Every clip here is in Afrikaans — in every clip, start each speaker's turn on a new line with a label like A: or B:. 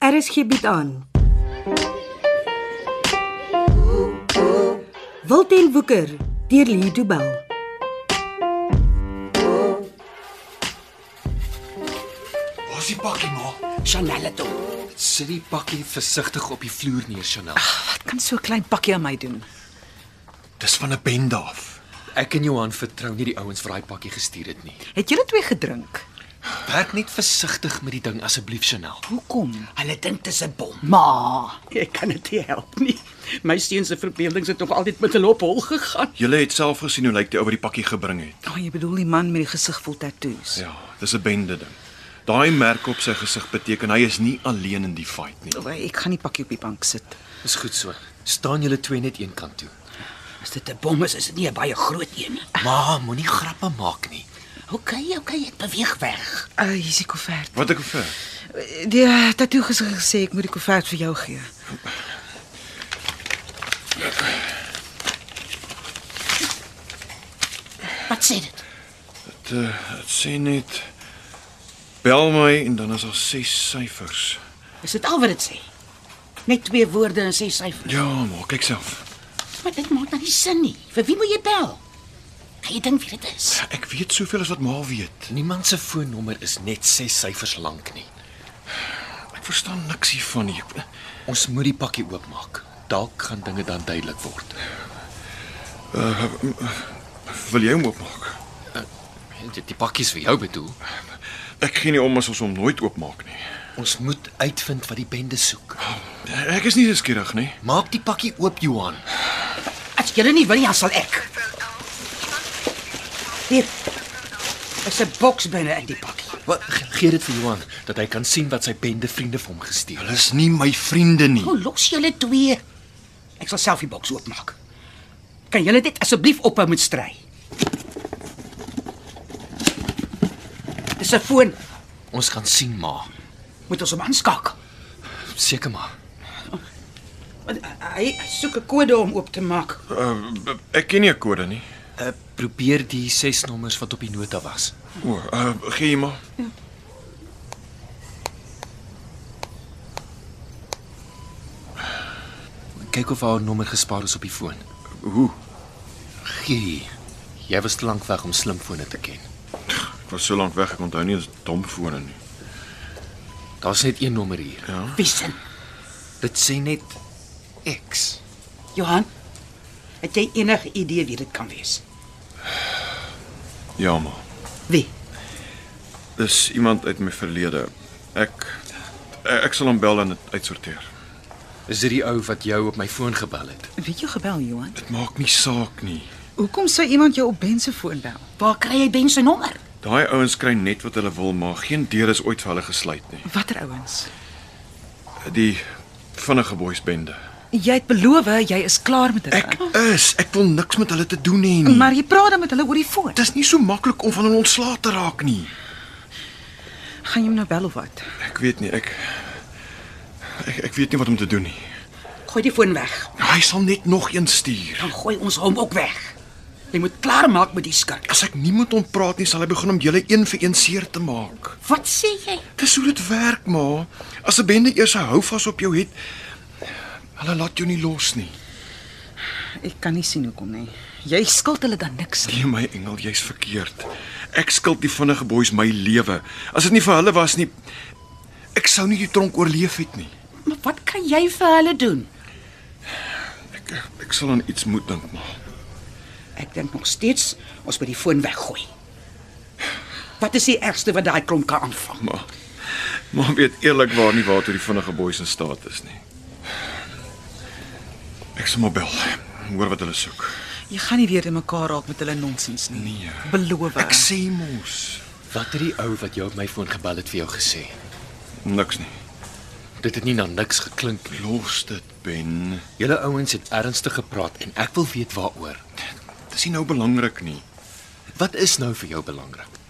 A: RSG bied Er aan. Wilten Woeker deur Lee Du Bell.
B: Waar's die pakkie, ma?
C: Chanel het hom.
B: Sit die pakkie versigtig op die vloer neer, Chanel.
C: Wat kan so 'n klein pakkie aan my doen?
B: Dis van 'n bend af. Ek en Johan vertrou nie die ouens vir daai pakkie gestuur het nie.
C: Het julle twee gedrink?
B: Werk net versigtig met die ding asseblief, Chanel.
C: Hoekom?
D: Hulle dink dit is 'n bom.
C: Ma,
D: Ek kan dit nie help nie. My seun se verbeelding het tog altyd met hulle op hol gegaan.
E: Julle het self gesien hoe lyk die ou wat die pakkie gebring het.
C: oh, jy bedoel die man met die gesig vol tatoeëns.
E: Ja, dis 'n bende ding. Daai merk op sy gesig beteken hy is nie alleen in die fight nie.
C: O, Ek gaan nie pakkie op die bank sit.
B: Dis goed so. Staan julle twee net een kant toe.
D: As dit 'n bom is, is dit nie 'n baie groot een nie.
B: Ma, moenie grappe maak nie.
D: OK, OK, ek beweeg weg.
C: Uh, hier is die koevert.
E: Wat ek vir
C: Eh, Die eh, tatoe gesig gesê ek moet die koevert vir jou gee.
D: Wat sê dit?
E: dit eh, dit sê net bel my en dan is daar ses syfers.
D: Is dit al wat dit sê? Net twee woorde en ses syfers.
E: Ja, maar kyk self.
D: Maar dit maak nou nie sin nie. Vir wie moet jy bel? Kan jy dink wie dit is?
E: Ek weet soveel as wat ma weet.
B: Niemand se foonnommer is net 6 syfers lank nie.
E: Ek verstaan niks hiervan nie. Ek-
B: Ons moet die pakkie oopmaak. Dalk gaan dinge dan duidelik word.
E: Wil jy hom oopmaak?
B: Dit die pakkies vir jou bedoel.
E: Ek gee nie om as ons hom nooit oopmaak nie.
B: Ons moet uitvind wat die bende soek.
E: Ek is nie geskierig nie.
B: Maak die pakkie oop, Johan.
D: As jy nie wil nie, dan sal ek. Hier. Is 'n boks binne in die pakkie.
B: Wat ge- gee dit vir Johan dat hy kan sien wat sy bende vriende vir hom gestuur het.
E: Hulle is nie my vriende nie.
D: Hoe los julle twee? Ek sal self die boks oopmaak. Kan julle dit asseblief ophou met stry? Dis 'n foon.
B: Ons gaan sien, ma.
D: Moet ons hom aanskakel.
B: Seker maar.
D: Want Hy hy soek 'n kode om oop te maak.
E: Uh, b- ek ken nie 'n kode nie.
B: Uh, probeer die 6 nommers wat op die nota was.
E: O, uh, gee jy maar.
B: Kyk of haar nommer gespaar is op die foon.
E: Hoe?
B: Gee. Jy was te lank weg om slimfone te ken.
E: Ek was so lank weg, ek onthou nie eens dom fone nie.
B: Daar's net een nommer hier.
D: Wiesin.
B: Dit sê net X.
D: Johan, het jy enige idee wie dit kan wees?
E: Ja, maar.
D: Wie?
E: Dis iemand uit my verlede. Ek ek sal hom bel en dit uitsorteer.
B: Is dit die ou wat jou op my foon gebel het?
C: Weet jy gebel Johan?
E: Dit maak nie saak nie.
C: Hoekom sou iemand jou op Ben se foon bel?
D: Waar kry jy Ben se nommer?
E: Daai ouens kry net wat hulle wil, maar geen deur is ooit vir hulle gesluit nie.
C: Watter ouens?
E: Die vinnige boysbende.
C: Jy het beloof jy is klaar met dit.
E: Ek is, ek wil niks met hulle te doen hê nie.
C: Maar jy praat dan met hulle oor die foon.
E: dis nie so maklik om van hulle ontslae te raak nie.
C: Gaan jy hom nou bel of wat?
E: Ek weet nie, ek ek, ek weet nie wat om te doen nie.
D: Gooi die foon weg.
E: Hy sal net nog een stuur.
D: Dan gooi ons hom ook weg. Jy moet klaar maak met die skurk.
E: As ek nie met hom praat nie, sal hy begin om julle een vir een seer te maak.
D: Wat sê jy?
E: Dis hoe dit werk, ma. As 'n bende eers 'n houvas op jou het, hulle laat jou nie los nie.
C: Ek kan nie sien hoekom nie. Jy skuld hulle dan niks nie.
E: Nee, my engel, jy's verkeerd. Ek skuld die vinnige boeis my lewe. As dit nie vir hulle was nie, ek sou nie die tronk oorleef het nie.
D: Maar wat kan jy vir hulle doen?
E: Ek ek sal aan iets moet dink, ma.
D: Ek dink nog steeds ons moet die foon weggooi. Wat is die ergste wat daai klomp kan aanvang?
E: Ma. Ma weet eerlikwaar nie waartoe die vinnige boeis in staat is nie. Ek sal maar bel. Hoor wat hulle soek.
C: Jy gaan nie weer in mekaar raak met hulle nonsens nie.
E: Nee.
C: Beloof.
E: Ek sê mos
B: Wat het die ou wat jou op my foon gebel het vir jou gesê?
E: niks nie.
B: Dit het nie na niks geklink nie.
E: Los dit, Ben.
B: Julle ouens het ernstig gepraat en ek wil weet waaroor.
E: Dis nie nou belangrik nie.
B: Wat is nou vir jou belangrik?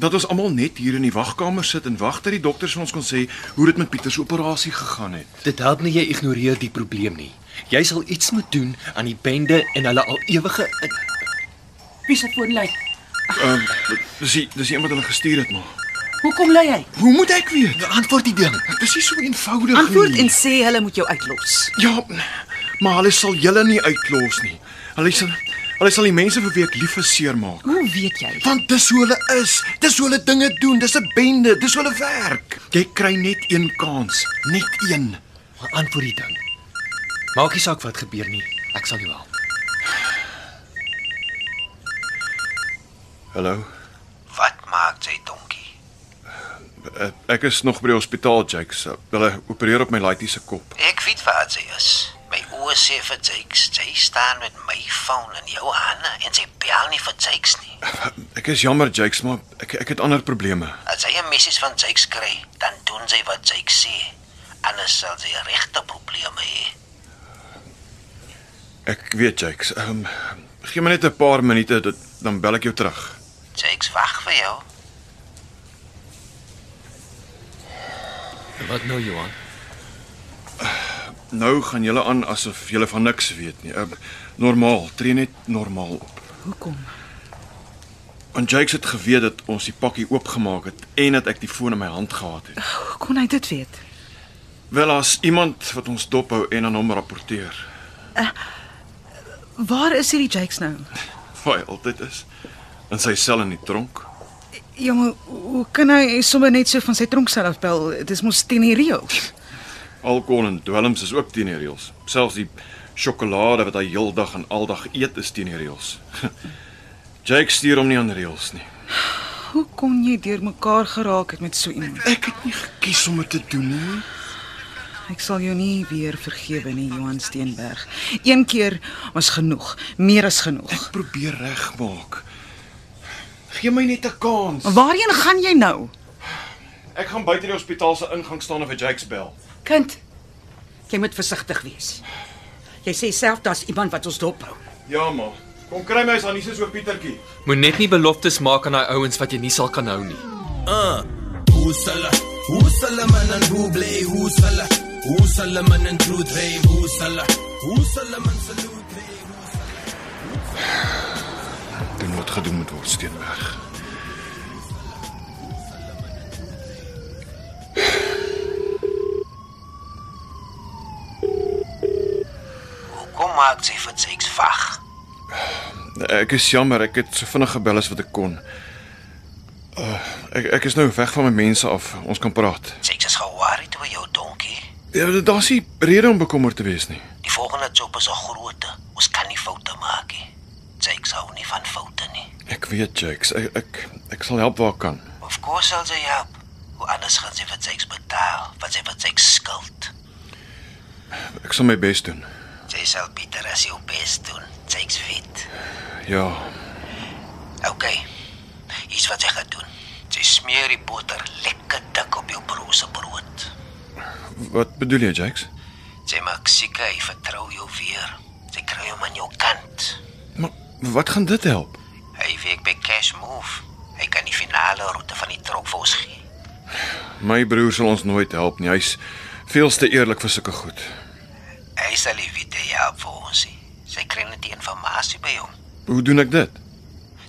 E: Dat ons almal net hier in die wagkamer sit en wag dat die dokters vir ons kon sê hoe dit met Pieter se operasie gegaan het.
B: Dit help nie jy ignoreer die probleem nie. Jy sal iets moet doen aan die bende en hulle al ewige
D: Wie se foon lei?
E: Ehm dis die, dis die een wat hulle gestuur het maar.
D: Hoekom lei hy?
E: Hoe moet ek weet?
B: Antwoord die ding.
E: Dit is nie so eenvoudig
C: Antwoord
E: nie.
C: en sê hulle moet jou uitlos.
E: Ja, maar hulle sal julle nie uitlos nie. Hulle sal hulle sal die mense vir wie ek lief is seermaak.
C: Hoe weet jy?
E: Want dis hoe hulle is. Dis hoe hulle dinge doen. Dis 'n bende. Dis hoe hulle werk. Jy kry net een kans, net een.
B: Maar antwoord die ding. Maak nie saak wat gebeur nie. Ek sal jou help.
E: Hallo.
F: Wat maak jy donkie?
E: Eh, Ek is nog by die hospitaal, Jakes. Hulle opereer op my laaitie se kop.
F: Ek weet waar jy is. My oë sê vir Jakes, jy staan met my foon in jou hande en jy bel nie vir Jakes nie.
E: Ek is jammer, Jakes, maar ek ek het ander probleme.
F: As jy 'n message van Jakes kry, dan doen jy wat Jakes sê. Anders sal jy regte probleme hê.
E: Ek weet, Jakes. Ehm um, gee my net 'n paar minute, dit, dan bel ek jou terug.
F: Jakes wag vir jou.
B: Wat nou, Johan?
E: Nou gaan julle aan asof julle van niks weet nie. Um, normaal, tree net normaal op.
C: Hoekom?
E: Want Jakes het geweet dat ons die pakkie oopgemaak het en dat ek die foon in my hand gehad het.
C: Hoe kon hy dit weet?
E: Wel as iemand wat ons dophou en aan hom rapporteer.
C: Waar is hierdie Jakes nou?
E: Waar hy altyd is. In sy sel in die tronk.
C: Ja, maar hoe kan hy sommer net so van sy tronk self bel? Dit is mos teen die reëls.
E: Alkohol en dwelms is ook teen die reëls. Selfs die sjokolade wat hy heeldag en aldag eet is teen die reëls. Jake stuur hom nie aan reëls nie.
C: Hoe kon jy deurmekaar geraak het met so iemand?
E: Ek het nie gekies om dit te doen nie.
C: Ek sal jou nie weer vergewe nie, Johan Steenberg. Een keer was genoeg, meer as genoeg.
E: Ek probeer regmaak. Gee my net 'n kans.
C: Waarheen gaan jy nou?
E: Ek gaan buite die hospitaal se ingang staan en vir Jake bel.
D: Kind, jy moet versigtig wees. Jy sê self daar's iemand wat ons dophou.
E: Ja, ma. Kom kry my as Annie se so Pietertjie.
B: Moet net nie beloftes maak aan daai ouens wat jy nie sal kan hou nie.
G: Husala, husala manan buble, husala, husala manan truth rave, husala, husala man salute rave.
E: Doen wat gedoen moet word, Steenberg.
F: Hoekom maak jy vir Jakes wag?
E: Ek is jammer, ek het so vinnig gebel as wat ek kon. Uh, ek ek is nou weg van my mense af. Ons kan praat.
F: Jakes is geworried oor jou donkie.
E: Ja, daar's nie rede om bekommerd te wees nie.
F: Die volgende job is 'n grootte. Ons kan nie foute maak nie. Jakes hou nie van foute nie.
E: Ek weet, Jakes, ek ek, ek sal help waar ek kan.
F: Of course sal sy help. Hoe anders gaan sy vir Jakes betaal? Wat sy vir Jakes skuld.
E: Ek sal my bes doen.
F: Sy sal Pieter as jou bes doen. Jakes weet.
E: Ja,
F: OK. Hier's wat sy gaan doen. Sy smeer die botter lekker dik op jou brosse brood.
E: wat bedoel jy, Jakes?
F: Sy maak seker hy vertrou jou weer. Sy kry hom aan jou kant.
E: Maar wat gaan dit help?
F: Hy weet by cash move. Hy kan die finale roete van die trok vir ons gee.
E: My broer sal ons nooit help nie. Hy's veel te eerlik vir sulke goed.
F: Hy sal die witte help vir ons. nie. Sy kry net die inligting by hom.
E: Hoe doen ek dit?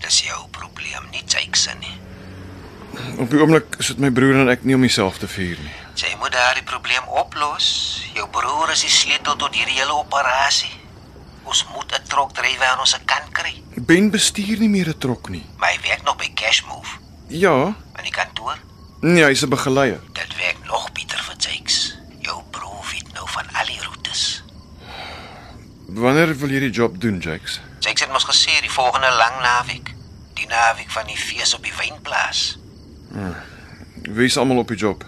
F: Dis jou probleem, nie Jakes se nie.
E: Op die oomblik sit my broer en ek nie om myself te vier nie.
F: Jy moet daardie probleem oplos. Jou broer is die sleutel tot hierdie hele operasie. Ons moet 'n trokdrywer aan ons kant kry.
E: Ben bestuur nie meer 'n trok nie.
F: Maar hy werk nog by Cash Move
E: Ja,
F: in die kantoor.
E: nee, hy's 'n begeleier.
F: Dit werk nog Pieter vir Jakes. Jou broer weet nou van al die roetes.
E: Wanneer wil jy die job doen, Jakes?
F: Jakes het mos gesê die volgende lang naweek, die naweek van die fees op die wynplaas.
E: Wie is almal op die job?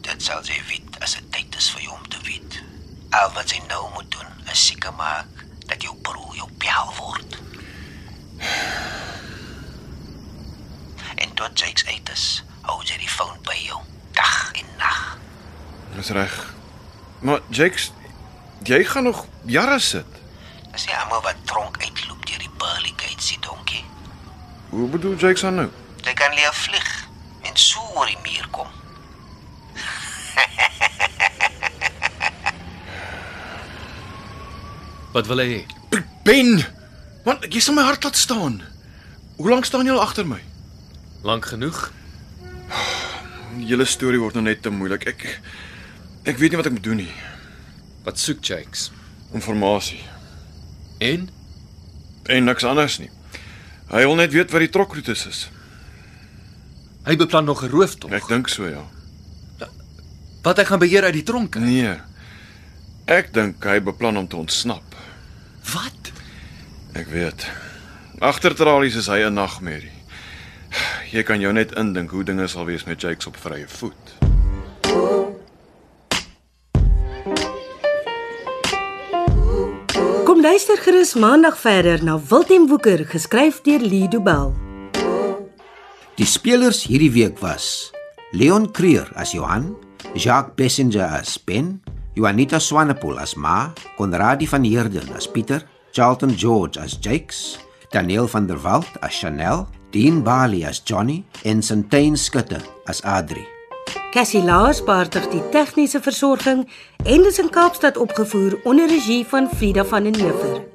F: Dit sal jy weet as dit tyd is vir jou om te weet. Al wat jy nou moet doen, is seker maak dat jou broer jou pel word. En tot Jakes uit is, hou jy die foon by jou, dag en nag.
E: Dis reg. Maar Jakes, jy gaan nog jare sit.
F: Dis nie almal wat tronk uitloop deur die pearly gates se donkie.
E: Hoe bedoel Jakes dan nou?
F: Jy kan leer vlieg en so oor die muur kom.
B: Wat wil hy hê?
E: Ben, man, jy sal my hart laat staan. Hoe lank staan jy al agter my?
B: Lank genoeg?
E: die hele storie word nou net te moeilik. Ek ek weet nie wat ek moet doen nie.
B: Wat soek Jakes?
E: Informasie
B: En
E: en niks anders nie. Hy wil net weet wat die trokroetes is.
B: hy beplan nog 'n rooftog.
E: Ek dink so ja.
B: Wat hy gaan beheer uit die tronke.
E: Nee. Ek dink hy beplan om te ontsnap.
B: Wat?
E: Ek weet. Agter tralies is hy 'n nagmerrie. Jy kan jou net indink hoe dinge sal wees met Jakes op vrye voet.
A: Kom luister gerus maandag verder na Wilten Woeker geskryf deur Lido Bell.
F: Die spelers hierdie week was Leon Creer as Johan, Jacques Passenger as Ben, Juanita Swanepoel as Ma, Konradi van Heerden as Pieter, Charlton George as Jakes, Daniel van der Walt as Chanel, Dean Bali as Johnny en Sintyn Skutte as Adri.
A: Cassie Lars beheer die tegniese versorging en dit is in Kaapstad opgevoer onder regie van Frida van den Heever.